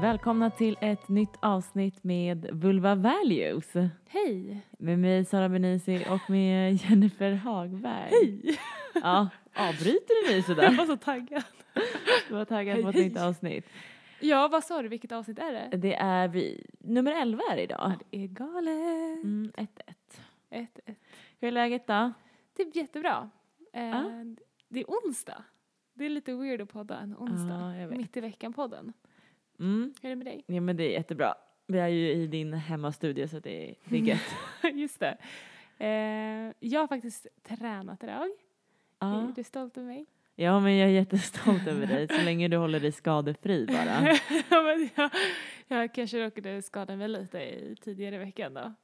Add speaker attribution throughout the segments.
Speaker 1: Välkomna till ett nytt avsnitt med Vulva Values.
Speaker 2: Hej!
Speaker 1: Med mig Sara Benisi och med Jennifer Hagberg.
Speaker 2: Hej!
Speaker 1: Ja, avbryter du mig
Speaker 2: Jag
Speaker 1: sådär?
Speaker 2: var så taggad.
Speaker 1: Du var taggad på ett
Speaker 2: Hej, hej.
Speaker 1: nytt avsnitt.
Speaker 2: Ja, vad sa du? Vilket avsnitt är det?
Speaker 1: Det är vi, nummer 11 är det idag.
Speaker 2: Ja, det är galet.
Speaker 1: Mm, 1-1.
Speaker 2: Ett, ett.
Speaker 1: Hur är läget då?
Speaker 2: Det är Typ jättebra. Eh,
Speaker 1: Ja.
Speaker 2: Det är onsdag. Det är lite weird att podda en onsdag.
Speaker 1: Ja, jag vet.
Speaker 2: Mitt i veckan-podden.
Speaker 1: Mm.
Speaker 2: Hur är det med dig?
Speaker 1: Ja, men det är jättebra. Vi är ju i din hemmastudio så det är, det är gött.
Speaker 2: Just det. Eh, jag har faktiskt tränat idag. Är
Speaker 1: Ja.
Speaker 2: du stolt över mig?
Speaker 1: ja, men jag är jättestolt över dig så länge du håller dig skadefri bara.
Speaker 2: Ja, men jag, jag kanske råkade skada mig lite i tidigare i veckan då.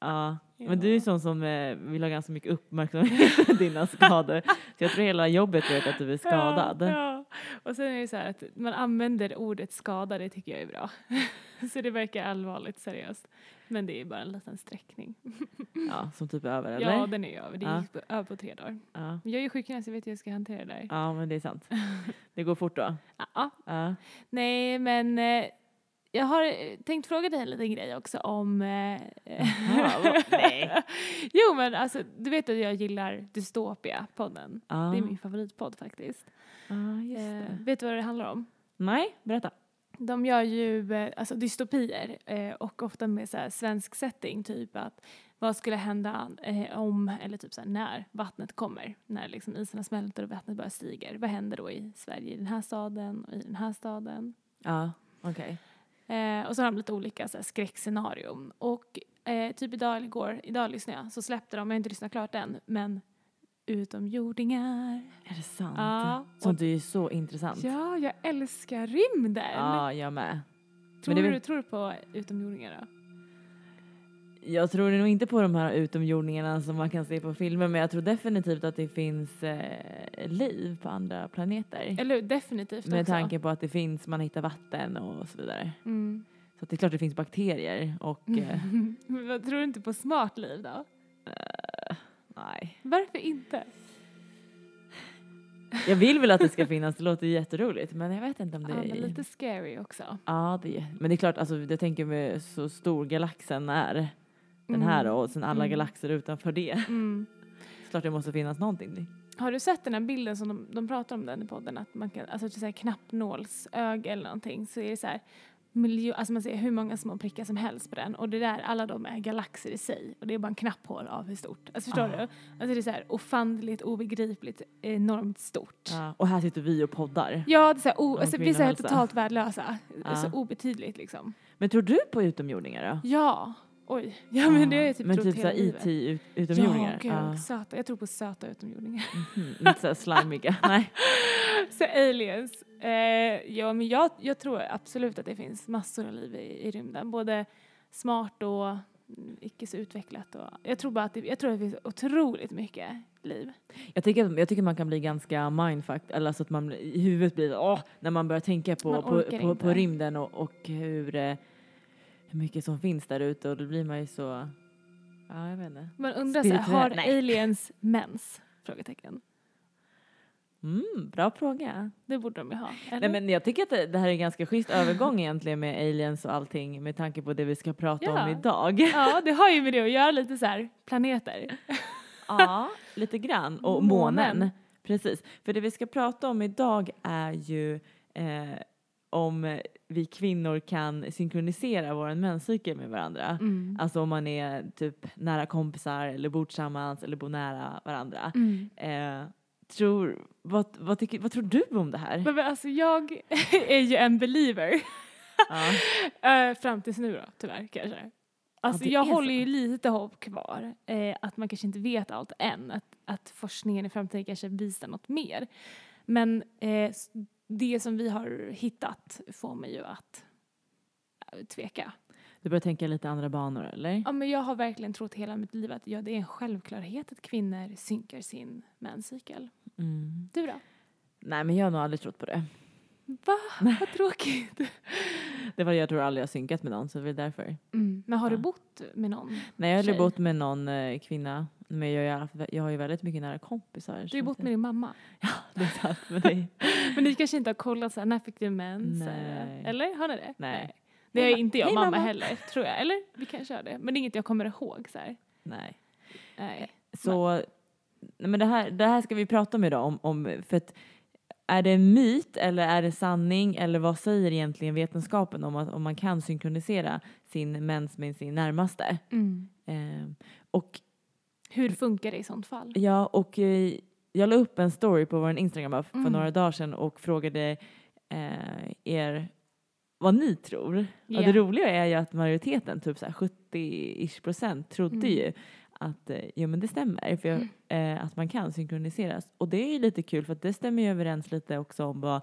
Speaker 1: Ja,
Speaker 2: Ja.
Speaker 1: men du är ju sån som eh, vill ha ganska mycket uppmärksamhet med dina skador. Så jag tror hela jobbet vet att du är skadad.
Speaker 2: Ja, ja. Och sen är det så här att man använder ordet skada, det tycker jag är bra. så det verkar allvarligt seriöst. Men det är bara en liten sträckning.
Speaker 1: Ja, som typ är över eller?
Speaker 2: Ja, den är ju över. Det
Speaker 1: Ja.
Speaker 2: gick på, över på tre dagar.
Speaker 1: ja.
Speaker 2: Men jag är ju sjukgymnast, jag vet hur jag ska hantera det där.
Speaker 1: ja, men det är sant. Det går fort då.
Speaker 2: Ja, ja.
Speaker 1: Ja.
Speaker 2: Nej, men eh, jag har eh, tänkt fråga dig en liten grej också om... eh,
Speaker 1: Jaha, vad- nej.
Speaker 2: jo, men alltså du vet att jag gillar Dystopia-podden.
Speaker 1: Ja,
Speaker 2: Det är min favoritpodd faktiskt.
Speaker 1: ja just det.
Speaker 2: Eh, vet du vad det handlar om?
Speaker 1: Nej, berätta.
Speaker 2: De gör ju eh, alltså, dystopier eh, och ofta med så här, svensk setting, typ att vad skulle hända eh, om, eller typ så här, när vattnet kommer, när liksom isarna smälter och vattnet bara stiger. Vad händer då i Sverige, i den här staden och i den här staden?
Speaker 1: Ja, okej.
Speaker 2: Eh, och så har de lite olika så här, skräckscenarion. Och eh, typ idag eller igår, idag lyssnade jag, så släppte de, jag har inte lyssnat klart än, men utomjordingar.
Speaker 1: Är det sant?
Speaker 2: Ja, och,
Speaker 1: Sånt är ju så intressant.
Speaker 2: ja, jag älskar rymden.
Speaker 1: Ja, jag med.
Speaker 2: Tror
Speaker 1: det är väl-
Speaker 2: du tror du på utomjordingar då?
Speaker 1: Jag tror nog inte på de här utomjordingarna som man kan se på filmer men jag tror definitivt att det finns eh, liv på andra planeter.
Speaker 2: Eller hur? definitivt
Speaker 1: Med
Speaker 2: också.
Speaker 1: tanke på att det finns, man hittar vatten och så vidare.
Speaker 2: Mm.
Speaker 1: Så att det är klart det finns bakterier och eh,
Speaker 2: Men vad, tror du inte på smart liv då?
Speaker 1: nej.
Speaker 2: Varför inte?
Speaker 1: Jag vill väl att det ska finnas, det låter ju jätteroligt men jag vet inte om det
Speaker 2: Ja,
Speaker 1: är...
Speaker 2: men lite scary också.
Speaker 1: Ja, det är... men det är klart, alltså, jag tänker med så stor galaxen är, den här och sen alla
Speaker 2: Mm.
Speaker 1: galaxer utanför det.
Speaker 2: Mm.
Speaker 1: Såklart det måste finnas någonting.
Speaker 2: Har du sett den här bilden som de, de pratar om den i podden? Att man kan, alltså till så här knappnålsöga eller någonting så är det så här miljö, alltså man ser hur många små prickar som helst på den och det där, alla de är galaxer i sig och det är bara en knapphål av hur stort. Alltså förstår
Speaker 1: Ah.
Speaker 2: du? Alltså det är så här ofantligt, obegripligt, enormt stort.
Speaker 1: Ja. Och här sitter vi och poddar.
Speaker 2: Ja, det är så här, o,
Speaker 1: Om
Speaker 2: alltså, vi är så här
Speaker 1: kvinnohälsa.
Speaker 2: totalt värdelösa.
Speaker 1: Ja.
Speaker 2: Så obetydligt liksom.
Speaker 1: Men tror du på utomjordingar då?
Speaker 2: Ja, oj. Ja men det har jag typ
Speaker 1: Men
Speaker 2: trott
Speaker 1: typ
Speaker 2: hela
Speaker 1: såhär
Speaker 2: livet.
Speaker 1: IT-utomjordingar?
Speaker 2: Ja, gud, söta. Jag tror på söta utomjordingar.
Speaker 1: Mhm, Inte såhär slimiga, nej.
Speaker 2: så aliens. Eh, ja, men jag, jag tror absolut att det finns massor av liv i, i rymden. Både smart och mm, icke så utvecklat. Och, jag tror bara att det, jag tror att det finns otroligt mycket liv.
Speaker 1: Jag tycker, att- jag tycker man kan bli ganska mindfucked, eller alltså att man i huvudet blir åh, när man börjar tänka på,
Speaker 2: Man
Speaker 1: på,
Speaker 2: orkar
Speaker 1: på, på
Speaker 2: inte.
Speaker 1: rymden och, och hur, eh, hur mycket som finns där ute och då blir man ju så, ja jag vet inte.
Speaker 2: Man undrar så här, har
Speaker 1: Spirituell- nej.
Speaker 2: aliens mens? Frågetecken.
Speaker 1: Mm, bra fråga.
Speaker 2: Det borde de ju ha.
Speaker 1: Nej
Speaker 2: Eller?
Speaker 1: men jag tycker att det, det här är en ganska schysst övergång egentligen med aliens och allting med tanke på det vi ska prata om
Speaker 2: Ja.
Speaker 1: idag.
Speaker 2: Ja, det har ju med det att göra lite så här planeter.
Speaker 1: Ja, lite grann. Och månen.
Speaker 2: Månen.
Speaker 1: Precis. För det vi ska prata om idag är ju eh, om vi kvinnor kan synkronisera vår menscykel med varandra.
Speaker 2: Mm.
Speaker 1: Alltså om man är typ nära kompisar eller bor tillsammans eller bor nära varandra.
Speaker 2: Mm.
Speaker 1: Eh, tror, vad, vad, tycker, vad tror du om det här?
Speaker 2: Men, men alltså jag är ju en believer.
Speaker 1: ja.
Speaker 2: Eh, fram tills nu då, tyvärr kanske. Alltså
Speaker 1: det
Speaker 2: jag
Speaker 1: är
Speaker 2: håller
Speaker 1: så.
Speaker 2: ju lite hopp kvar. Eh, att man kanske inte vet allt än. Att, att forskningen i framtiden kanske visar något mer. Men eh, s- det som vi har hittat får mig ju att eh, tveka.
Speaker 1: Du börjar tänka lite andra banor eller?
Speaker 2: Ja, men jag har verkligen trott hela mitt liv att ja, det är en självklarhet att kvinnor synkar sin menscykel.
Speaker 1: Mm.
Speaker 2: Du då?
Speaker 1: Nej men jag har nog aldrig trott på det.
Speaker 2: Va? Vad tråkigt.
Speaker 1: Det var jag tror aldrig jag synkat med någon så det är därför.
Speaker 2: Men har du
Speaker 1: Ja.
Speaker 2: bott med någon?
Speaker 1: Nej jag har aldrig
Speaker 2: Tjej.
Speaker 1: bott med någon eh, kvinna men jag, är i alla fall- jag har ju väldigt mycket nära kompisar.
Speaker 2: Du har ju bott med din mamma.
Speaker 1: Det är sant, men det,
Speaker 2: Men ni kanske inte har kollat så här, när fick du mens?
Speaker 1: Nej.
Speaker 2: eh, Eller har ni det?
Speaker 1: nej.
Speaker 2: Det
Speaker 1: Hej,
Speaker 2: är
Speaker 1: ma-
Speaker 2: inte jag
Speaker 1: hej,
Speaker 2: mamma,
Speaker 1: mamma.
Speaker 2: heller, tror jag. Eller? Vi kanske har det. Men det är inget jag kommer ihåg så här.
Speaker 1: nej.
Speaker 2: Nej.
Speaker 1: Så, nej men det här, det här ska vi prata om idag om, om för att är det en myt eller är det sanning eller vad säger egentligen vetenskapen om att om man kan synkronisera sin mens med sin närmaste?
Speaker 2: Mm.
Speaker 1: Eh, och
Speaker 2: Hur funkar det i sånt fall?
Speaker 1: Ja, och eh, jag la upp en story på vår Instagram bara för
Speaker 2: Mm.
Speaker 1: några dagar sedan och frågade eh, er vad ni tror. Och
Speaker 2: Ja.
Speaker 1: det roliga är ju att majoriteten, typ så här 70-ish procent, trodde
Speaker 2: Mm.
Speaker 1: ju att eh, jo, men det stämmer, för jag, eh, att man kan synkroniseras. Och det är ju lite kul för att det stämmer ju överens lite också om vad,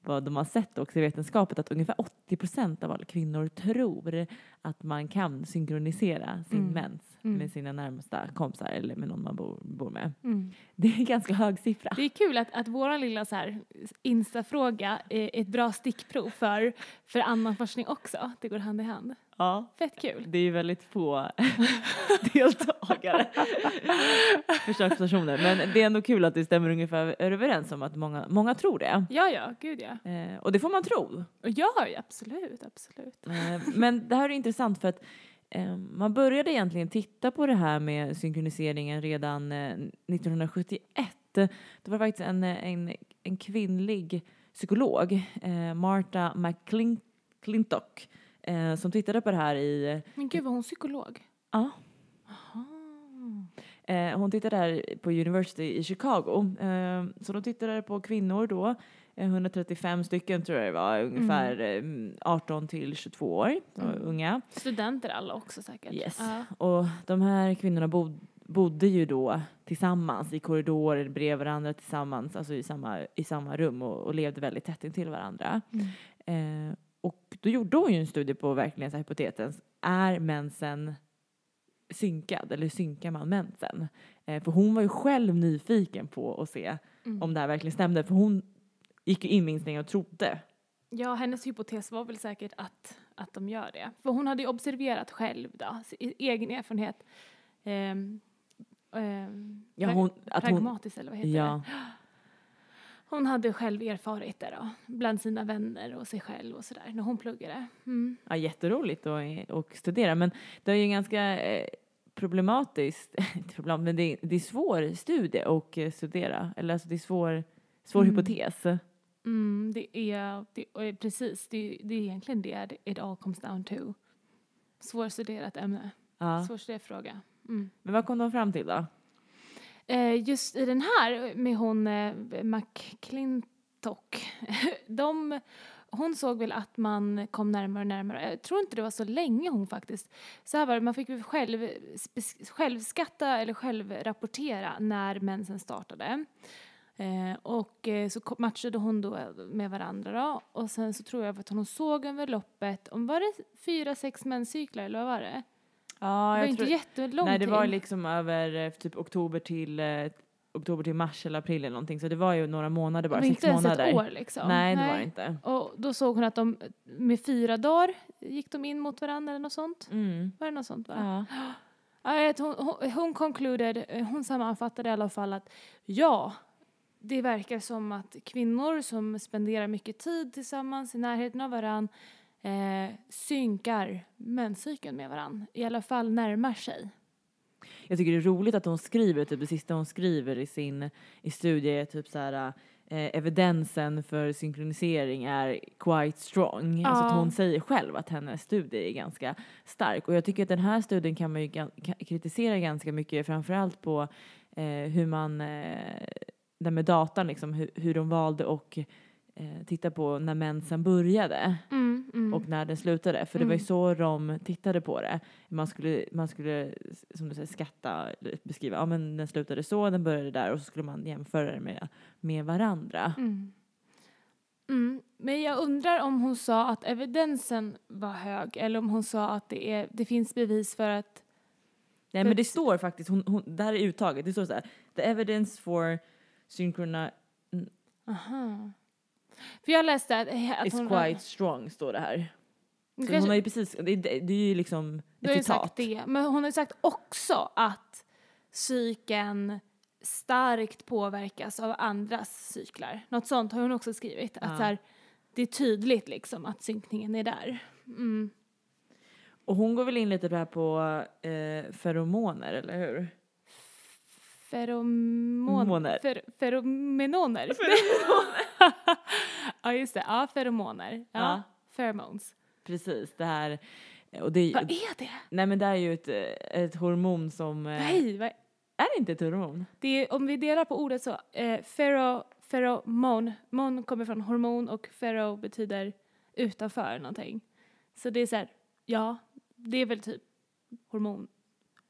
Speaker 1: vad de har sett också i vetenskapet att ungefär 80 procent av alla kvinnor tror att man kan synkronisera sin
Speaker 2: Mm.
Speaker 1: mens
Speaker 2: Mm.
Speaker 1: med sina närmsta kompisar eller med någon man bor, bor med.
Speaker 2: Mm.
Speaker 1: Det är en ganska hög siffra.
Speaker 2: Det är kul att, att vår lilla så här Insta-fråga är ett bra stickprov för, för annan forskning också. Det går hand i hand.
Speaker 1: Ja.
Speaker 2: Fett kul.
Speaker 1: Det är ju väldigt få deltagare, försökspersoner. Men det är ändå kul att det stämmer ungefär överens om att många, många tror det.
Speaker 2: Ja, ja, gud ja.
Speaker 1: Eh, och det får man tro.
Speaker 2: Och ja, ja, absolut, absolut.
Speaker 1: Eh, Men det här är intressant för att eh, man började egentligen titta på det här med synkroniseringen redan eh, 1971. Det var faktiskt en, eh, en, en kvinnlig psykolog, eh, Martha McClintock, eh, som tittade på det här i...
Speaker 2: Men gud, var hon psykolog?
Speaker 1: Ja,
Speaker 2: Aha.
Speaker 1: eh, hon tittade här på University i Chicago. Eh, så de tittade på kvinnor då, eh, 135 stycken tror jag det var, ungefär eh, 18 till 22 år, de var
Speaker 2: Mm.
Speaker 1: unga.
Speaker 2: Studenter alla också säkert.
Speaker 1: Yes.
Speaker 2: Ja.
Speaker 1: Och de här kvinnorna bod, bodde ju då tillsammans i korridorer bredvid varandra tillsammans, alltså i samma, i samma rum och, och levde väldigt tätt intill varandra.
Speaker 2: Mm.
Speaker 1: Eh, och då gjorde hon ju en studie på verkligen så här hypotesen, är mensen synkad eller synkar man mensen? Eh, för hon var ju själv nyfiken på att se
Speaker 2: Mm.
Speaker 1: om det här verkligen stämde, för hon gick ju in med inställningen och trodde.
Speaker 2: Ja, hennes hypotes var väl säkert att, att de gör det. För hon hade ju observerat själv då, sin egen erfarenhet. Ehm, ehm,
Speaker 1: Ja,
Speaker 2: pra-
Speaker 1: hon, att hon,
Speaker 2: pragmatiskt eller vad heter det?
Speaker 1: ja,
Speaker 2: Hon hade själv erfarit det då, bland sina vänner och sig själv och sådär, när hon pluggade. Mm.
Speaker 1: ja, jätteroligt att och studera men det är ju en ganska eh, problematiskt, inte problem, men det är, det är svår studie att eh, studera, eller alltså det är svår, svår
Speaker 2: Mm.
Speaker 1: hypotes.
Speaker 2: Mm, det är, det, och, eh, precis, det, det är egentligen det it all comes down to. Svårstuderat ämne,
Speaker 1: Ja.
Speaker 2: svårstuderad fråga. Mm.
Speaker 1: Men vad kom de fram till då?
Speaker 2: Eh, just i den här med hon eh, McClintock, de, hon såg väl att man kom närmare och närmare. Jag tror inte det var så länge hon faktiskt. Så här var det, man fick väl själv, spec- självskatta eller självrapportera när mensen startade. Eh, och eh, så ko- matchade hon då med varandra då. Och sen så tror jag att hon såg över loppet, om var det fyra, sex menscykler eller vad var det?
Speaker 1: Ja,
Speaker 2: det var inte jättelång
Speaker 1: Nej, det
Speaker 2: tid.
Speaker 1: var liksom över eh, typ oktober till, eh, oktober till mars eller april eller någonting så det var ju några månader bara,
Speaker 2: det var
Speaker 1: sex
Speaker 2: inte ens
Speaker 1: månader.
Speaker 2: ett år liksom.
Speaker 1: Nej, det var det inte.
Speaker 2: Och då såg hon att de med fyra dagar gick de in mot varandra eller något sånt.
Speaker 1: Mm.
Speaker 2: Var det något sånt va?
Speaker 1: Ja.
Speaker 2: Ja. jag vet, Hon, hon, hon concluded, eh, hon sammanfattade i alla fall att ja, det verkar som att kvinnor som spenderar mycket tid tillsammans i närheten av varandra eh, synkar menscykeln med varandra. I alla fall närmar sig.
Speaker 1: Jag tycker det är roligt att hon skriver, typ det sista hon skriver i sin i studie är typ så här eh, evidensen för synkronisering är quite strong. Alltså
Speaker 2: Ja.
Speaker 1: att hon säger själv att hennes studie är ganska stark. Och jag tycker att den här studien kan man ju gan- ka- kritisera ganska mycket, framförallt på eh, hur man, eh, där med datan liksom, hur, hur de valde och eh, titta på när mensen började
Speaker 2: Mm, mm.
Speaker 1: och när den slutade. För det var ju så de tittade på det. Man skulle, man skulle som du säger, skatta, eller beskriva, ja men den slutade så, den började där och så skulle man jämföra det med, med varandra.
Speaker 2: Mm. Mm. Men jag undrar om hon sa att evidensen var hög eller om hon sa att det, är, det finns bevis för att...
Speaker 1: Nej
Speaker 2: För
Speaker 1: men det
Speaker 2: att-
Speaker 1: står faktiskt, hon, hon, det här är uttaget, det står så här, the evidence for synchrona,
Speaker 2: Aha. För jag läste att, eh, att
Speaker 1: Is
Speaker 2: hon...
Speaker 1: quite strong står det här.
Speaker 2: Du
Speaker 1: Så
Speaker 2: kanske-
Speaker 1: hon har ju precis, det, det det är ju liksom
Speaker 2: Du har
Speaker 1: ett
Speaker 2: ju
Speaker 1: citat.
Speaker 2: sagt det. Men hon har ju sagt också att psyken starkt påverkas av andras cyklar. Något sånt har hon också skrivit. Att
Speaker 1: Ja.
Speaker 2: så här, det är tydligt liksom att synkningen är där. Mm.
Speaker 1: Och hon går väl in lite på det här på eh, feromoner, eller hur?
Speaker 2: Feromon,
Speaker 1: Moner.
Speaker 2: fer, feromenoner. ja, just det. Ja, feromoner. Ja,
Speaker 1: Ja.
Speaker 2: Pheromones.
Speaker 1: Precis, det här. Och det,
Speaker 2: Vad är det?
Speaker 1: nej men det är ju ett, eh, ett hormon som... eh,
Speaker 2: Nej, vad,
Speaker 1: Är det inte ett hormon?
Speaker 2: det är, om vi delar på ordet så, eh, fero, feromon, mon kommer från hormon och fero betyder utanför någonting. Så det är så här, ja, det är väl typ hormon,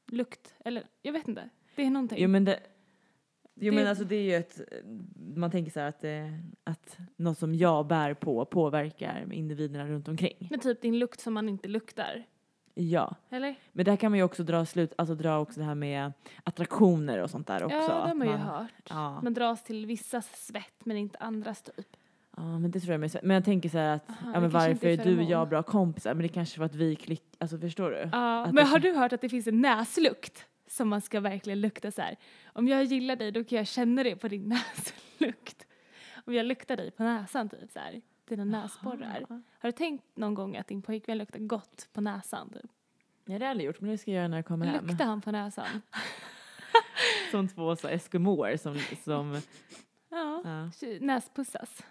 Speaker 2: lukt, eller jag vet inte. Det är någonting.
Speaker 1: Jo men det... Jo
Speaker 2: Det-
Speaker 1: men alltså det är ju ett... Man tänker så här att, eh, att något som jag bär på påverkar individerna runt omkring.
Speaker 2: Men typ din lukt som man inte luktar,
Speaker 1: Ja.
Speaker 2: eller?
Speaker 1: Men där kan man ju också dra slut, alltså dra också det här med attraktioner och sånt där också.
Speaker 2: ja, det har
Speaker 1: att
Speaker 2: man ju
Speaker 1: man-
Speaker 2: hört.
Speaker 1: Ja.
Speaker 2: Man dras till vissas svett men inte andras typ.
Speaker 1: ja, men det tror jag med. Men jag tänker så här att,
Speaker 2: Aha,
Speaker 1: ja
Speaker 2: det
Speaker 1: men
Speaker 2: kanske
Speaker 1: varför
Speaker 2: inte är
Speaker 1: är du och jag
Speaker 2: feromon.
Speaker 1: bra kompisar? Men det kanske var att vi klick, alltså förstår du?
Speaker 2: Ja,
Speaker 1: Att
Speaker 2: men
Speaker 1: det-
Speaker 2: har du hört att det finns en näslukt som man ska verkligen lukta så här? Om jag gillar dig då kan jag känna det på din näslukt. Om jag luktar dig på näsan typ så här, dina näsborrar.
Speaker 1: Aha.
Speaker 2: Har du tänkt någon gång att din pojkvän luktar gott på näsan? Typ?
Speaker 1: Nej det har jag aldrig gjort men det ska jag göra när jag kommer hem.
Speaker 2: Luktar han på näsan?
Speaker 1: Som två så här eskimåer som, som
Speaker 2: Ja,
Speaker 1: ja.
Speaker 2: näspussas.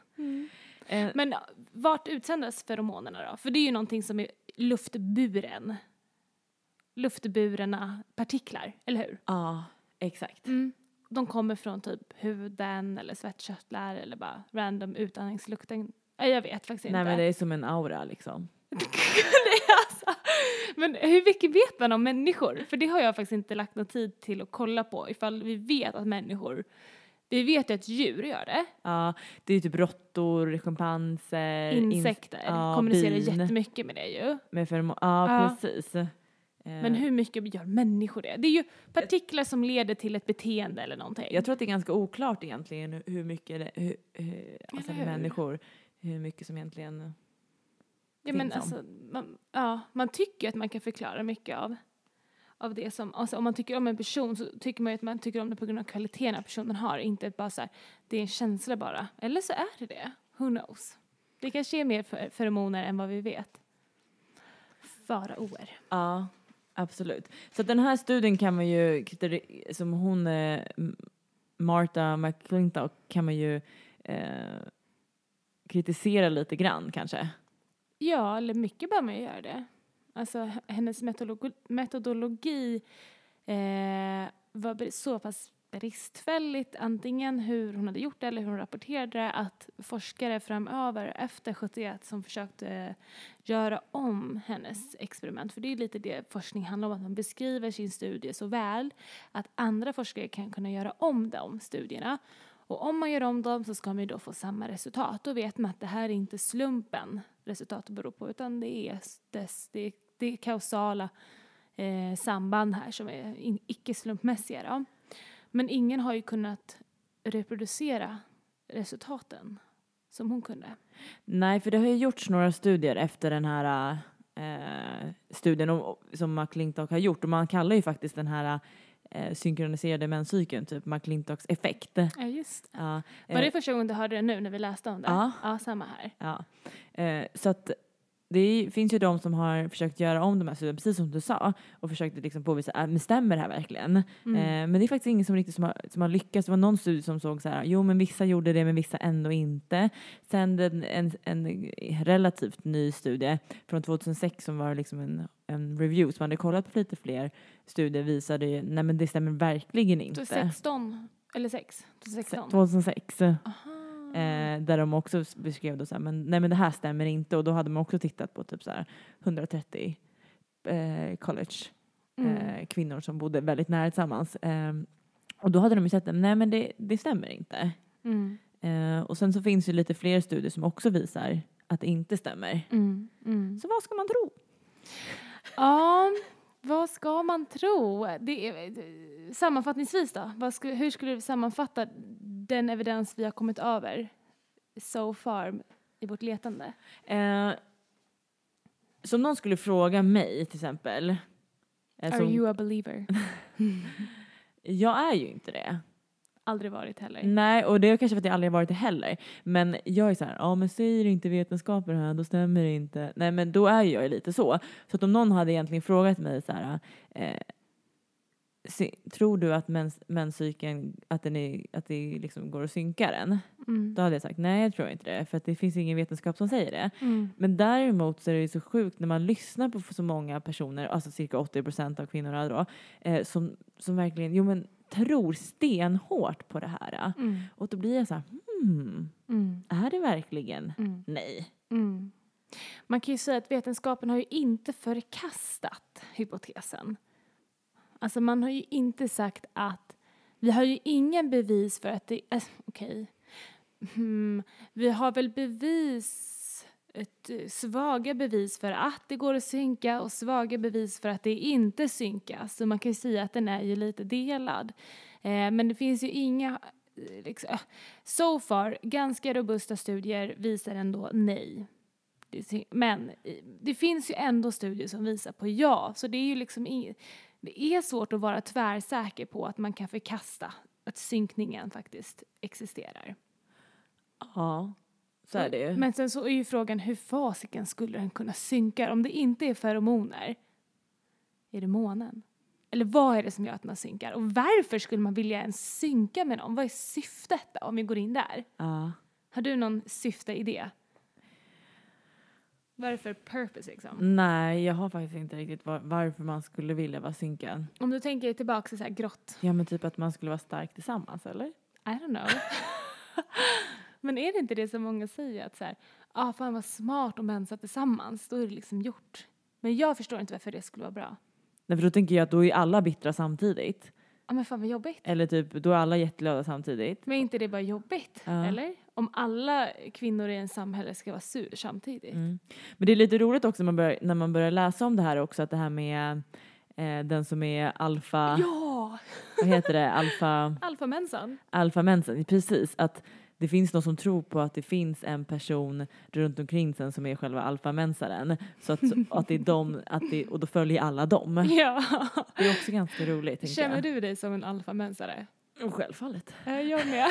Speaker 1: Eh,
Speaker 2: Men ja, vart utsändes feromonerna då? För det är ju någonting som är luftburen. Luftburna partiklar, eller hur?
Speaker 1: ja, exakt.
Speaker 2: Mm. De kommer från typ huden eller svettkörtlar eller bara random utandningslukten. Nej, jag vet faktiskt
Speaker 1: Nej
Speaker 2: inte.
Speaker 1: men det är som en aura liksom.
Speaker 2: Det är alltså- men hur mycket vet man om människor? För det har jag faktiskt inte lagt någon tid till att kolla på ifall vi vet att människor vi vet ju att djur gör det.
Speaker 1: Ja, det är ju typ råttor, schimpanser, Eh, ins-
Speaker 2: Insekter
Speaker 1: ja,
Speaker 2: kommunicerar
Speaker 1: bin.
Speaker 2: jättemycket med det ju.
Speaker 1: med fermo- ja,
Speaker 2: Ja.
Speaker 1: precis. Eh,
Speaker 2: Men hur mycket gör människor det? Det är ju partiklar som leder till ett beteende eller någonting.
Speaker 1: Jag tror att det är ganska oklart egentligen hur- hur mycket, det- hur, hur, alltså
Speaker 2: Eller hur?
Speaker 1: människor, hur mycket som egentligen,
Speaker 2: Ja, men
Speaker 1: finns om.
Speaker 2: alltså, man, ja, man tycker ju att man kan förklara mycket av, av det som... Alltså, om man tycker om en person så tycker man ju att man tycker om det på grund av kvaliteterna personen har. Inte bara så här, det är en känsla bara. Eller så är det det. Who knows? Det kanske är mer fe- feromoner än vad vi vet. Faraoer.
Speaker 1: ja absolut. Så att den här studien kan man ju, kriter- som hon, eh, M- Martha McClintock kan man ju eh, kritisera lite grann kanske.
Speaker 2: Ja, eller mycket bör man ju göra det. Alltså h- hennes metodologi, metodologi eh, var br- så pass bristfälligt antingen hur hon hade gjort det eller hur hon rapporterade det att forskare framöver efter 71 som försökte göra om hennes experiment, för det är lite det forskning handlar om, att man beskriver sin studie så väl att andra forskare kan kunna göra om de studierna. Och om man gör om dem så ska man ju då få samma resultat. Då vet man att det här är inte slumpen resultatet beror på utan det är, dess, det, det är kausala eh, samband här som är in, icke slumpmässiga. Då. Men ingen har ju kunnat reproducera resultaten som hon kunde.
Speaker 1: Nej, för det har ju gjorts några studier efter den här eh, studien om, och- som McClintock har gjort och man kallar ju faktiskt den här eh, synkroniserade menscykeln typ McClintocks effekt.
Speaker 2: Ja, just
Speaker 1: Ja, Eh.
Speaker 2: Var det första gången du hörde det nu när vi läste om det?
Speaker 1: Ja.
Speaker 2: ja samma här.
Speaker 1: Ja. Eh, så att det är, finns ju de som har försökt göra om de här studierna, precis som du sa, och försökt liksom påvisa, äh, men stämmer det här verkligen?
Speaker 2: Mm.
Speaker 1: Eh, men det är faktiskt ingen som riktigt som har, som har lyckats. Det var någon studie som såg så här, jo men vissa gjorde det men vissa ändå inte. Sen den, en, en relativt ny studie från 2006 som var liksom en, en review som hade kollat på lite fler studier visade ju, nej men det stämmer verkligen inte.
Speaker 2: 2016, eller 6? 2016?
Speaker 1: 2006.
Speaker 2: Aha.
Speaker 1: Eh, där de också s- beskrev då så här, men, nej men det här stämmer inte och då hade man också tittat på typ så här 130 eh, college
Speaker 2: Mm.
Speaker 1: eh, kvinnor som bodde väldigt nära tillsammans. Eh, och då hade de ju sett att nej men det, det stämmer inte.
Speaker 2: Mm.
Speaker 1: Eh, och sen så finns ju lite fler studier som också visar att det inte stämmer.
Speaker 2: Mm. Mm.
Speaker 1: Så vad ska man tro?
Speaker 2: Ja, vad ska man tro? Det är, sammanfattningsvis då, vad sku, hur skulle du sammanfatta den evidens vi har kommit över so far i vårt letande?
Speaker 1: Eh, som någon skulle fråga mig till exempel. eh,
Speaker 2: Are
Speaker 1: som-
Speaker 2: you a believer?
Speaker 1: Jag är ju inte det.
Speaker 2: Aldrig varit heller.
Speaker 1: Nej, och det är kanske för att jag aldrig har varit det heller. Men jag är så här, ja men säger inte vetenskapen här, då stämmer det inte. Nej men då är ju jag lite så. Så att om någon hade egentligen frågat mig så här, eh, se, tror du att mens, menscykeln, att, den är, att det liksom går att synka den?
Speaker 2: Mm.
Speaker 1: Då hade jag sagt, nej jag tror inte det, för att det finns ingen vetenskap som säger det.
Speaker 2: Mm.
Speaker 1: Men däremot så är det ju så sjukt när man lyssnar på så många personer, alltså cirka 80 procent av kvinnorna då, eh, som, som verkligen, jo men tror stenhårt på det här. eh.
Speaker 2: Mm.
Speaker 1: Och då blir jag så här, hmm,
Speaker 2: Mm.
Speaker 1: är det verkligen?
Speaker 2: Mm.
Speaker 1: Nej.
Speaker 2: Mm. Man kan ju säga att vetenskapen har ju inte förkastat hypotesen. Alltså man har ju inte sagt att vi har ju ingen bevis för att det... Äh, Okej. Hmm. Vi har väl bevis, ett, eh, svaga bevis för att det går att synka och svaga bevis för att det inte synkas. Så man kan ju säga att den är ju lite delad. Eh, men det finns ju inga... eh, Liksom, äh, so far, ganska robusta studier visar ändå nej. Det sy- Men eh, det finns ju ändå studier som visar på ja, så det är ju liksom ing- det är svårt att vara tvärsäker på att man kan förkasta att synkningen faktiskt existerar.
Speaker 1: Ja, så är det ju.
Speaker 2: Men sen så är ju frågan hur fasiken skulle den kunna synka om det inte är feromoner? Är det månen? Eller vad är det som gör att man synkar? Och varför skulle man vilja ens synka med någon? Vad är syftet då, om vi går in där?
Speaker 1: Ja.
Speaker 2: Har du någon syfte i det? Vad är det för purpose
Speaker 1: Mm.
Speaker 2: liksom?
Speaker 1: Nej, jag har faktiskt inte riktigt var, varför man skulle vilja vara synkad.
Speaker 2: Om du tänker tillbaka till så här grått,
Speaker 1: Ja men typ att man skulle vara stark tillsammans eller?
Speaker 2: I don't know. Men är det inte det som många säger att så här, ah fan vad smart om mensar tillsammans, då är det liksom gjort. Men jag förstår inte varför det skulle vara bra.
Speaker 1: Nej för då tänker jag att då är alla bittra samtidigt.
Speaker 2: Ja "Ah, men fan vad jobbigt.
Speaker 1: Eller typ, då är alla jätteglada samtidigt.
Speaker 2: Men är inte det bara jobbigt,
Speaker 1: Ja.
Speaker 2: eller? Om alla kvinnor i en samhälle ska vara sur samtidigt.
Speaker 1: Mm. Men det är lite roligt också när man börjar, när man börjar läsa om det här också, att det här med eh, den som är alfa,
Speaker 2: Ja!
Speaker 1: vad heter det, alfa,
Speaker 2: Alfamensan.
Speaker 1: alfamensen, precis, att det finns någon som tror på att det finns en person runt omkring sen som är själva alfamensaren. Så att, att det är de, att det, och då följer alla dem.
Speaker 2: Ja.
Speaker 1: Det är också ganska roligt. tänker
Speaker 2: Känner
Speaker 1: jag.
Speaker 2: du dig som en alfamensare?
Speaker 1: Oh, självfallet.
Speaker 2: Ja, Eh, Jag med.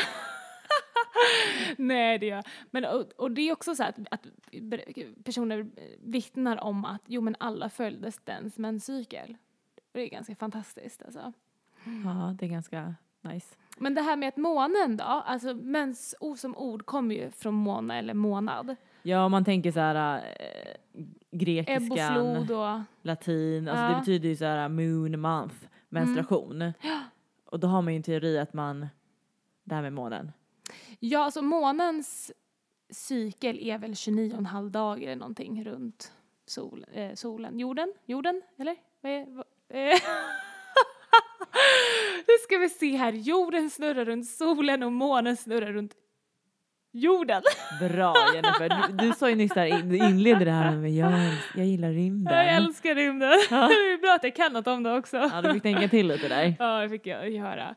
Speaker 2: Nej, det gör jag. Men, och, och det är också så här att, att ber- personer eh, vittnar om att jo, men alla följde dens menscykel. Och det är ganska fantastiskt. Alltså.
Speaker 1: Ja, det är ganska nice.
Speaker 2: Men det här med att månen då, alltså mens o som ord kommer ju från måne eller månad.
Speaker 1: Ja, om man tänker så här eh,
Speaker 2: Ebb och
Speaker 1: grekiskan,
Speaker 2: flod och...
Speaker 1: latin, alltså det
Speaker 2: Ja. Mm.
Speaker 1: betyder ju så här moon, month, menstruation. Och då har man ju en teori att man, det här med månen.
Speaker 2: Ja, alltså månens cykel är väl 29,5 dagar eller någonting runt sol, eh, solen. Jorden? Jorden? Eller? Vad är, vad, eh. nu ska vi se här. Jorden snurrar runt solen och månen snurrar runt jorden.
Speaker 1: Bra Jennifer, du, du sa ju nyss där, in- du inledde det här med jag, älsk- jag gillar
Speaker 2: Jag
Speaker 1: rymden.
Speaker 2: älskar rymden.
Speaker 1: Ja.
Speaker 2: Det är bra att jag kan något om det också.
Speaker 1: Ja, du fick tänka till lite där.
Speaker 2: Ja, det fick jag ju höra.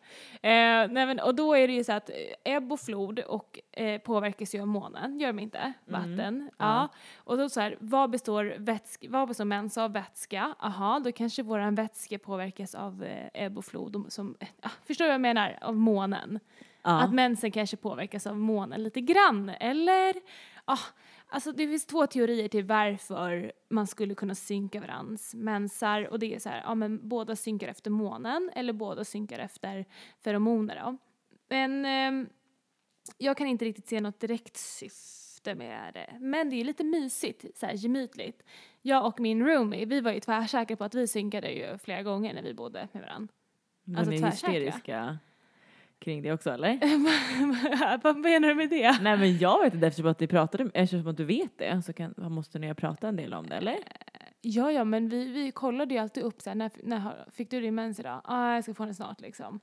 Speaker 2: Eh, nej men, och då är det ju så att eh, ebb och flod och, eh, påverkas ju av månen, gör de inte? Vatten. Ja. Och då så här, vad består, vätsk, vad består mens av? Vätska. Aha, då kanske våran vätska påverkas av eh, ebb och flod. och Som, eh, ah, förstår du vad jag menar? Av månen. Att
Speaker 1: Ja.
Speaker 2: mensen kanske påverkas av månen lite grann, eller? Ah, alltså det finns två teorier till varför man skulle kunna synka varans mensar och det är så här, ja men båda synkar efter månen eller båda synkar efter feromoner då. Men ehm, jag kan inte riktigt se något direkt syfte med det. Men det är ju lite mysigt, så här gemytligt. Jag och min roomie, vi var ju tvärsäkra på att vi synkade ju flera gånger när vi bodde med varandra.
Speaker 1: Men
Speaker 2: alltså
Speaker 1: är
Speaker 2: tvärsäkra.
Speaker 1: hysteriska kring det också eller?
Speaker 2: Vad menar du med det?
Speaker 1: Nej men jag vet inte eftersom att, ni pratade, eftersom att du vet det så kan, måste ni ha pratat en del om det eller?
Speaker 2: Ja, ja, men vi, vi kollade ju alltid upp så här, när, när har- fick du din mens idag? Ja, ah, jag ska få den snart liksom.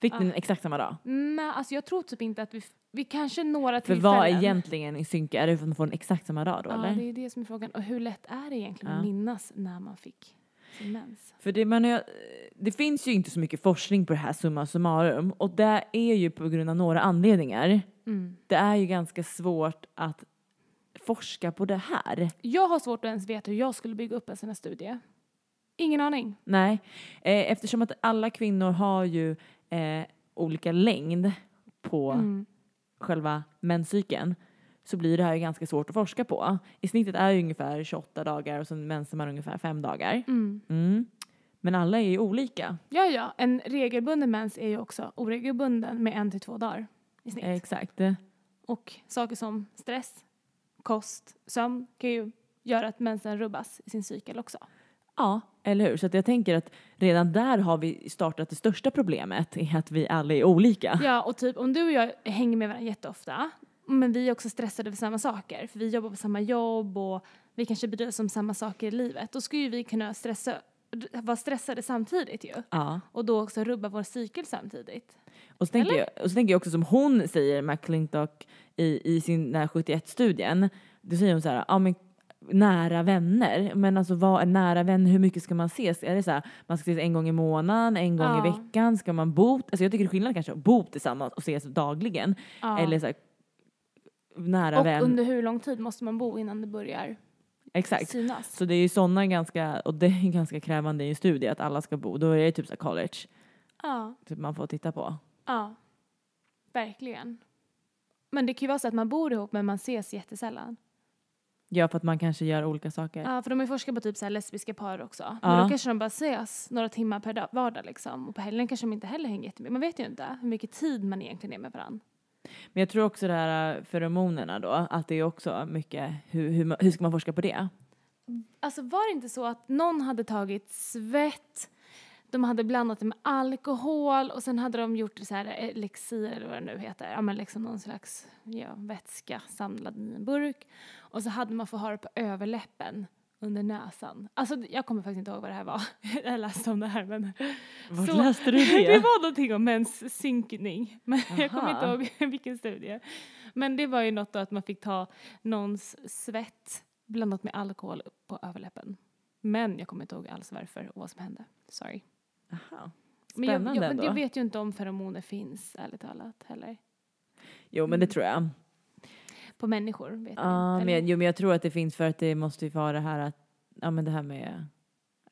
Speaker 1: Fick ni den exakt samma dag?
Speaker 2: Nej, alltså jag tror typ inte att vi, f- vi kanske några
Speaker 1: För
Speaker 2: tillfällen.
Speaker 1: vad är egentligen synka? Är det för att man får den exakt samma dag då
Speaker 2: Ja,
Speaker 1: eller?
Speaker 2: det är det som är frågan. Och hur lätt är det egentligen
Speaker 1: Ja.
Speaker 2: att minnas när man fick Mens.
Speaker 1: För det, man, har- det finns ju inte så mycket forskning på det här summa summarum och det är ju på grund av några anledningar.
Speaker 2: Mm.
Speaker 1: Det är ju ganska svårt att forska på det här.
Speaker 2: Jag har svårt att ens veta hur jag skulle bygga upp en sån här studie. Ingen aning.
Speaker 1: Nej, eh, eftersom att alla kvinnor har ju eh, olika längd på
Speaker 2: Mm.
Speaker 1: själva menscykeln så blir det här ju ganska svårt att forska på. I snittet är ju ungefär 28 dagar och sen mensar man ungefär 5 dagar.
Speaker 2: Mm.
Speaker 1: Mm. Men alla är ju olika.
Speaker 2: Ja, ja. En regelbunden mens är ju också oregelbunden med en till två dagar i snitt.
Speaker 1: Exakt.
Speaker 2: Och saker som stress, kost, sömn kan ju göra att mensen rubbas i sin cykel också.
Speaker 1: Ja, eller hur? Så att jag tänker att redan där har vi startat det största problemet i att vi alla är olika.
Speaker 2: Ja, och typ om du och jag hänger med varandra jätteofta, men vi är också stressade för samma saker, för vi jobbar på samma jobb och vi kanske bryr oss om samma saker i livet, då skulle ju vi kunna stressa, vara stressade samtidigt ju.
Speaker 1: Ja.
Speaker 2: Och då också rubba vår cykel samtidigt.
Speaker 1: Och så, tänker jag, och så tänker jag också som hon säger, McClintock, i, i sin 71-studien. Då säger hon så här, ja men nära vänner. Men alltså vad är nära vänner? Hur mycket ska man ses? Är det så här, man ska ses en gång i månaden, en gång
Speaker 2: Ja.
Speaker 1: i veckan? Ska man bo? Alltså jag tycker det är skillnad kanske att bo tillsammans och ses dagligen.
Speaker 2: Ja.
Speaker 1: Eller så här, nära
Speaker 2: och
Speaker 1: vän.
Speaker 2: under hur lång tid måste man bo innan det börjar
Speaker 1: Exakt.
Speaker 2: synas?
Speaker 1: Så det är ju sådana ganska, och det är ganska krävande i en studie att alla ska bo. Då är det typ så här college,
Speaker 2: Ja,
Speaker 1: typ man får titta på.
Speaker 2: ja. Verkligen. Men det kan ju vara så att man bor ihop men man ses jättesällan.
Speaker 1: Ja, för att man kanske gör olika saker.
Speaker 2: Ja, för de har ju forskat på typ så här lesbiska par också.
Speaker 1: Ja.
Speaker 2: Men då kanske de bara ses några timmar per dag, vardag liksom. Och på helgen kanske de inte heller hänger jättemycket. Man vet ju inte hur mycket tid man egentligen är med varandra.
Speaker 1: Men jag tror också det här äh, feromonerna då, att det är också mycket, hur, hur, ma- hur ska man forska på det?
Speaker 2: Alltså var det inte så att någon hade tagit svett, de hade blandat det med alkohol och sen hade de gjort så här eh, elixir eller vad det nu heter. Ja men liksom någon slags ja, vätska samlad i en burk. Och så hade man fått ha det på överläppen under näsan. Alltså jag kommer faktiskt inte ihåg vad det här var. Jag läste om det här men
Speaker 1: Var
Speaker 2: Så-
Speaker 1: läste du det?
Speaker 2: Det var någonting om menssynkning. Men jag kommer
Speaker 1: Aha.
Speaker 2: inte ihåg vilken studie. Men det var ju något då att man fick ta någons svett blandat med alkohol på överläppen. Men jag kommer inte ihåg alls varför och vad som hände. Sorry.
Speaker 1: Aha.
Speaker 2: Men jag,
Speaker 1: Spännande
Speaker 2: jag, men
Speaker 1: ändå.
Speaker 2: jag vet ju inte om feromoner finns, ärligt talat, heller.
Speaker 1: Jo, men det tror jag.
Speaker 2: På människor vet
Speaker 1: Ja,
Speaker 2: jag inte.
Speaker 1: men,
Speaker 2: Mm. Eller-
Speaker 1: jo, men jag tror att det finns för att det måste ju vara det här att, ja men det här med,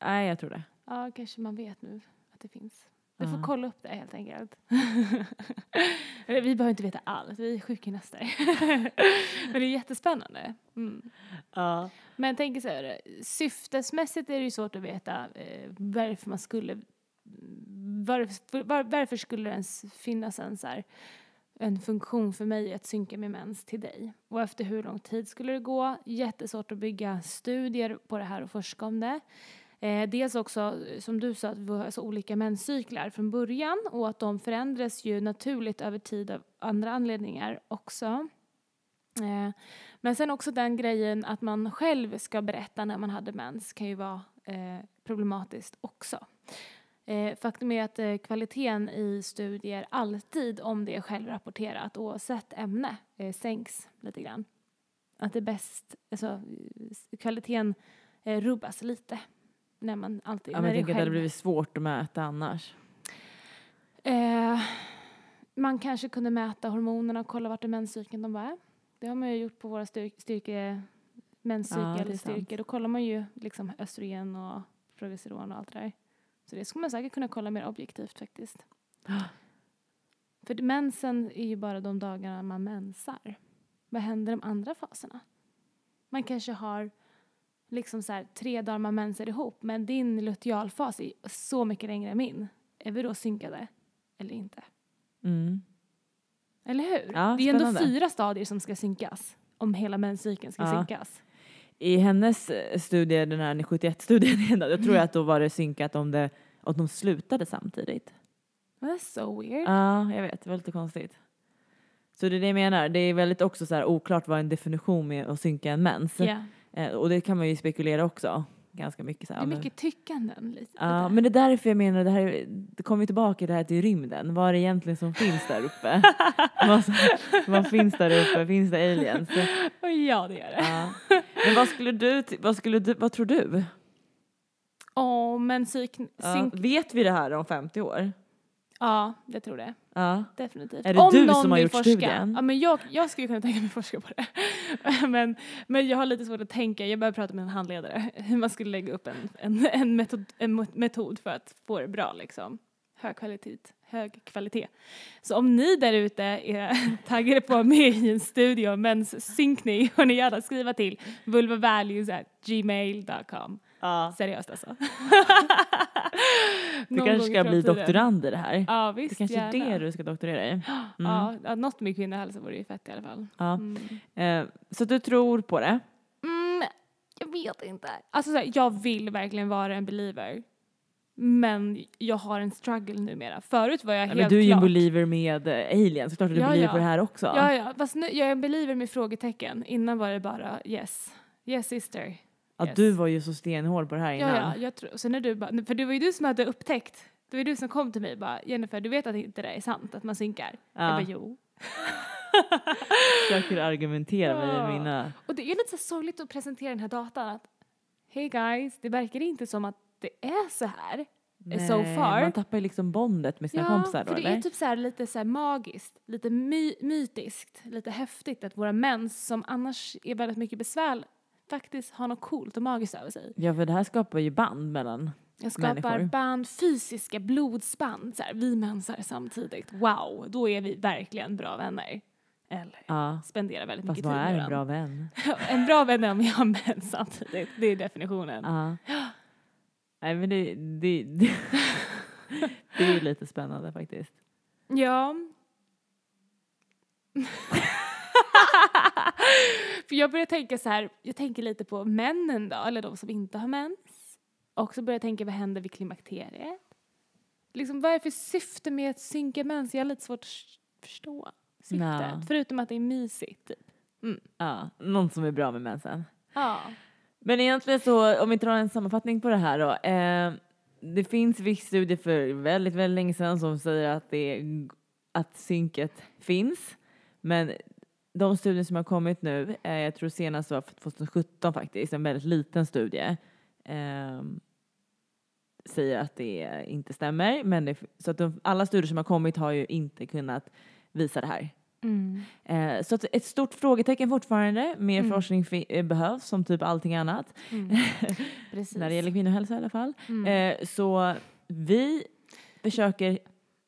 Speaker 1: nej jag tror det.
Speaker 2: Ja, kanske man vet nu att det finns. Du
Speaker 1: Ja.
Speaker 2: får kolla upp det helt enkelt. Eller, vi behöver inte veta allt, vi är sjukgymnaster. men det är jättespännande. Mm.
Speaker 1: Ja.
Speaker 2: Men jag tänker så här, syftesmässigt är det ju svårt att veta eh, varför man skulle, varför, var, varför skulle det ens finnas en så här, en funktion för mig att synka med mens till dig? Och efter hur lång tid skulle det gå? Jättesvårt att bygga studier på det här och forska om det. Eh, dels också, eh, som du sa, att vi har så olika menscyklar från början och att de förändras ju naturligt över tid av andra anledningar också. Eh, men sen också den grejen att man själv ska berätta när man hade mens kan ju vara eh, problematiskt också. Eh, faktum är att eh, kvaliteten i studier alltid, om det är självrapporterat oavsett ämne, eh, sänks lite grann. Att det är bäst, alltså eh, s- kvaliteten eh, rubbas lite när man alltid,
Speaker 1: Ja, men jag
Speaker 2: när det är
Speaker 1: tänker att det hade
Speaker 2: själv.
Speaker 1: blivit svårt att mäta annars.
Speaker 2: Eh, man kanske kunde mäta hormonerna och kolla vart i menscykeln de var. Det har man ju gjort på våra styr- styrke,
Speaker 1: Ja, det är
Speaker 2: menscykel,
Speaker 1: sant.
Speaker 2: styrke. Då kollar man ju liksom östrogen och progesteron och allt det där. Så det skulle man säkert kunna kolla mer objektivt faktiskt.
Speaker 1: Ja.
Speaker 2: För det- mensen är ju bara de dagarna man mensar. Vad händer de andra faserna? Man kanske har liksom så här, tre dagar man mensar ihop men din lutealfas är så mycket längre än min. Är vi då synkade eller inte?
Speaker 1: Mm.
Speaker 2: Eller hur?
Speaker 1: Ja,
Speaker 2: det är ändå
Speaker 1: spännande.
Speaker 2: fyra stadier som ska synkas om hela menscykeln ska
Speaker 1: Ja.
Speaker 2: synkas.
Speaker 1: I hennes eh, studie, den här 71-studien, då tror jag att då var det synkat om det, att de slutade samtidigt.
Speaker 2: That's so weird.
Speaker 1: Ja, jag vet. Det var lite konstigt. Så det är det jag menar. Det är väldigt också så här oklart vad en definition med att synka en mens.
Speaker 2: Ja.
Speaker 1: Eh, och det kan man ju spekulera också. Ganska mycket så
Speaker 2: Det
Speaker 1: här.
Speaker 2: är
Speaker 1: ja, men-
Speaker 2: mycket tyckanden. Lite,
Speaker 1: Ja,
Speaker 2: lite.
Speaker 1: men det är därför jag menar, det här är- det kommer ju tillbaka till det här till rymden. Vad är det egentligen som finns där uppe? vad, som- vad finns där uppe? Finns det aliens?
Speaker 2: Och ja, det gör det.
Speaker 1: Ja. Men vad skulle du, ty- vad skulle du, vad tror du?
Speaker 2: Åh, men psyk...
Speaker 1: Ja.
Speaker 2: Synk,
Speaker 1: Vet vi det här om 50 år?
Speaker 2: ja, jag tror det.
Speaker 1: Ja.
Speaker 2: Definitivt.
Speaker 1: Är det
Speaker 2: Om
Speaker 1: du
Speaker 2: någon
Speaker 1: som har
Speaker 2: vill
Speaker 1: gjort
Speaker 2: forska.
Speaker 1: studien?
Speaker 2: Ja, men jag, jag skulle kunna tänka mig forska på det. men, men jag har lite svårt att tänka, jag behöver prata med en handledare hur man skulle lägga upp en, en, en, metod, en mot- metod för att få det bra. Liksom. Hög kvalitet. Hög kvalitet. Så om ni där ute är taggade på att vara med i en studie om menssynkning får ni gärna skriva till vulvavalues@gmail.com.
Speaker 1: ja.
Speaker 2: Seriöst alltså.
Speaker 1: Du
Speaker 2: Någon
Speaker 1: kanske
Speaker 2: gång i
Speaker 1: ska bli
Speaker 2: framtiden.
Speaker 1: doktorand i det här.
Speaker 2: Ja,
Speaker 1: Det
Speaker 2: visst.
Speaker 1: kanske är
Speaker 2: gärna.
Speaker 1: det du ska doktorera i.
Speaker 2: Ja, ja, något med kvinnohälsa vore ju fett i alla fall.
Speaker 1: Mm. Ja.
Speaker 2: Mm.
Speaker 1: Eh, så du tror på det?
Speaker 2: Mm, jag vet inte. Alltså så här, jag vill verkligen vara en believer. Men jag har en struggle numera. Förut var jag
Speaker 1: Ja,
Speaker 2: helt
Speaker 1: men du är ju en
Speaker 2: klart-
Speaker 1: believer med eh, aliens, såklart är du
Speaker 2: Ja,
Speaker 1: believer
Speaker 2: ja.
Speaker 1: på det här också.
Speaker 2: Ja, ja. Fast nu, jag är en believer med frågetecken. Innan var det bara yes. Yes sister.
Speaker 1: Att
Speaker 2: Yes.
Speaker 1: du var ju så stenhård på det här
Speaker 2: Ja,
Speaker 1: innan.
Speaker 2: ja. Jag tror, sen är du bara, för det var ju du som hade upptäckt. Det var ju du som kom till mig och bara Jennifer, du vet att inte det där är sant, att man synkar. Jag bara jo.
Speaker 1: försöker argumentera med
Speaker 2: Ja.
Speaker 1: mina...
Speaker 2: Och det är lite så här sorgligt att presentera den här datan att Hey guys, det verkar inte som att det är så här. Eh, so far.
Speaker 1: Man tappar ju liksom bondet med sina kompisar då
Speaker 2: för det
Speaker 1: eller?
Speaker 2: är typ så här lite så här magiskt, lite my- mytiskt, lite häftigt att våra mens som annars är väldigt mycket besvär faktiskt har något coolt och magiskt över sig.
Speaker 1: Ja för det här skapar ju band mellan.
Speaker 2: Jag skapar
Speaker 1: Människor.
Speaker 2: band, fysiska blodsband, så här, vi mensar samtidigt. Wow, då är vi verkligen bra vänner. Eller
Speaker 1: Ja.
Speaker 2: spenderar väldigt
Speaker 1: Fast
Speaker 2: mycket
Speaker 1: vad
Speaker 2: tid
Speaker 1: är
Speaker 2: med
Speaker 1: en bra vän?
Speaker 2: varandra. en bra vän är om jag har mens samtidigt, det är definitionen.
Speaker 1: Ja. Nej men det, det, det, det är ju lite spännande faktiskt.
Speaker 2: Ja. För jag börjar tänka så här, jag tänker lite på männen då, eller de som inte har mens. Och så börjar jag tänka, vad händer vid klimakteriet? Liksom, vad är det för syfte med att synka mens? Jag har lite svårt att s- förstå syftet.
Speaker 1: Ja.
Speaker 2: Förutom att det är mysigt, typ.
Speaker 1: Ja. Någon som är bra med mensen.
Speaker 2: Ja.
Speaker 1: Men egentligen så, om vi drar en sammanfattning på det här då. Eh, det finns viss studie för väldigt, väldigt länge sedan som säger att, det, är- att synket finns. Men de studier som har kommit nu, eh, jag tror senast var 2017 faktiskt, en väldigt liten studie, eh, säger att det inte stämmer. Men det, så att de, alla studier som har kommit har ju inte kunnat visa det här. Eh, så att ett stort frågetecken fortfarande. Mer
Speaker 2: Mm.
Speaker 1: forskning fi- eh, behövs som typ allting annat
Speaker 2: Precis.
Speaker 1: när det gäller kvinnohälsa i alla fall.
Speaker 2: Mm.
Speaker 1: Eh, så vi försöker,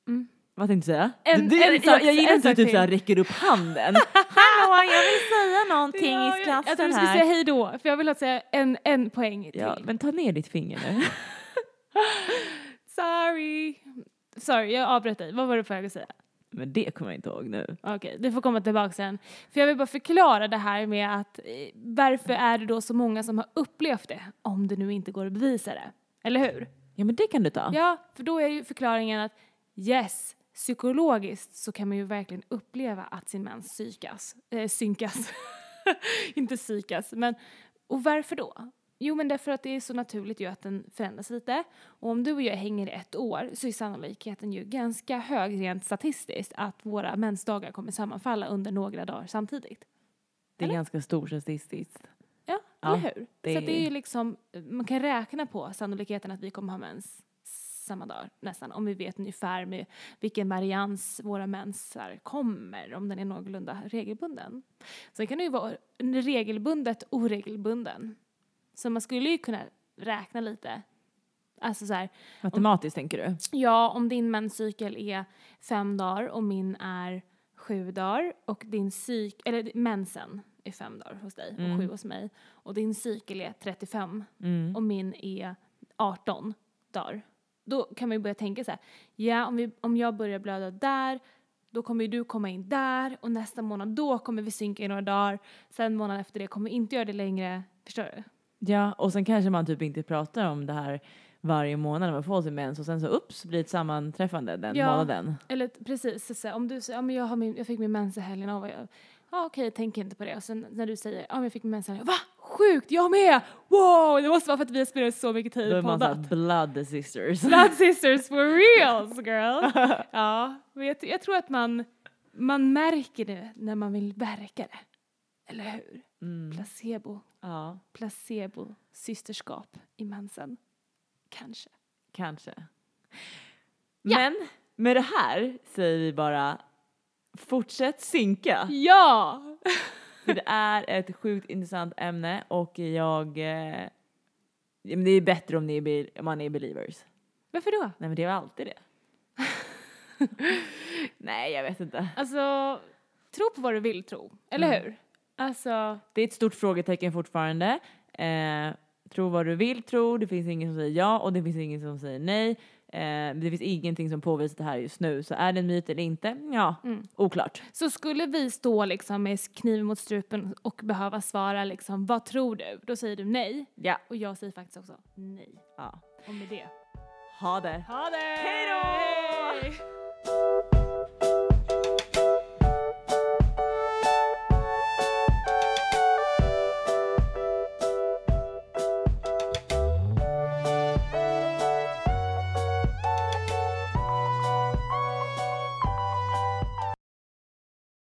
Speaker 2: Mm.
Speaker 1: vad tänkte jag säga?
Speaker 2: En-
Speaker 1: du,
Speaker 2: en
Speaker 1: jag,
Speaker 2: sak-
Speaker 1: jag gillar inte
Speaker 2: en
Speaker 1: att du
Speaker 2: sak
Speaker 1: typ
Speaker 2: till.
Speaker 1: såhär räcker upp handen. Hallå, jag vill säga någonting
Speaker 2: Ja, jag- Jag tror du skulle säga hej då, för jag vill att säga en, en poäng till.
Speaker 1: Ja, men ta ner ditt finger nu.
Speaker 2: Sorry! Sorry, jag avbröt dig. Vad var det på väg att säga?
Speaker 1: men det kommer jag inte ihåg nu.
Speaker 2: Okej, du får komma tillbaka sen. För jag vill bara förklara det här med att eh, varför är det då så många som har upplevt det om det nu inte går att bevisa det? Eller hur?
Speaker 1: Ja, men det kan du ta.
Speaker 2: Ja, för då är ju förklaringen att yes, psykologiskt så kan man ju verkligen uppleva att sin mens psykas, eh, synkas. Inte psykas, men och varför då? Jo, men därför att det är så naturligt ju att den förändras lite. Och om du och jag hänger i ett år så är sannolikheten ju ganska hög rent statistiskt att våra mensdagar kommer sammanfalla under några dagar samtidigt.
Speaker 1: det är
Speaker 2: eller?
Speaker 1: ganska stort statistiskt.
Speaker 2: Ja,
Speaker 1: Ja,
Speaker 2: eller hur?
Speaker 1: det
Speaker 2: Så att det
Speaker 1: är-
Speaker 2: är ju liksom, man kan räkna på sannolikheten att vi kommer ha mens samma dag nästan, om vi vet ungefär med vilken varians våra mensar kommer, om den är någorlunda regelbunden. Sen kan det ju vara regelbundet oregelbunden. Så man skulle ju kunna räkna lite. Alltså så här,
Speaker 1: Matematiskt tänker du?
Speaker 2: Ja, om din menscykel är fem dagar och min är sju dagar och din cyk, eller mensen är fem dagar hos dig och sju hos mig och din cykel är 35
Speaker 1: Mm.
Speaker 2: och min är 18 dagar. Då kan man ju börja tänka så här, ja om, vi, om jag börjar blöda där då kommer ju du komma in där och nästa månad då kommer vi synka i några dagar. Sen månaden efter det kommer vi inte göra det längre. Förstår du?
Speaker 1: Ja, och sen kanske man typ inte pratar om det här varje månad när man får sin mens och sen så ups blir det ett sammanträffande den
Speaker 2: Ja.
Speaker 1: månaden.
Speaker 2: Eller t- precis, så, så, om du säger ja, men jag, har min, jag fick min mens i helgen, och vad jag, ja okej jag tänker inte på det. Och sen när du säger ja men jag fick min mens i helgen, va? Sjukt, jag med! Wow! Det måste vara för att vi har spelat så mycket
Speaker 1: Då
Speaker 2: tid
Speaker 1: är
Speaker 2: på
Speaker 1: man såhär
Speaker 2: poddat.
Speaker 1: blood sisters.
Speaker 2: Blood sisters for reals girl! ja, men jag, t- jag tror att man, man märker det när man vill verka det. Eller hur?
Speaker 1: Mm.
Speaker 2: Placebo,
Speaker 1: Ja.
Speaker 2: placebo, systerskap i mensen. Kanske.
Speaker 1: Kanske.
Speaker 2: Ja.
Speaker 1: Men med det här säger vi bara fortsätt synka.
Speaker 2: Ja!
Speaker 1: För det är ett sjukt intressant ämne och jag... Eh, ja, men det är bättre om, ni är, be- om man är believers.
Speaker 2: Varför då?
Speaker 1: Nej men det är väl alltid det. Nej jag vet inte.
Speaker 2: Alltså, tro på vad du vill tro, eller
Speaker 1: Mm.
Speaker 2: hur? Alltså,
Speaker 1: Det är ett stort frågetecken fortfarande. Eh, tro vad du vill tro, det finns ingen som säger ja och det finns ingen som säger nej. Eh, det finns ingenting som påvisar det här just nu. Så är det en myt eller inte? Ja,
Speaker 2: Mm.
Speaker 1: oklart.
Speaker 2: så skulle vi stå liksom med kniven mot strupen och behöva svara liksom, vad tror du? Då säger du nej,
Speaker 1: Ja.
Speaker 2: och jag säger faktiskt också nej.
Speaker 1: ja.
Speaker 2: Och med det,
Speaker 1: Ha det!
Speaker 2: ha det!
Speaker 1: Hej då!
Speaker 2: Hej!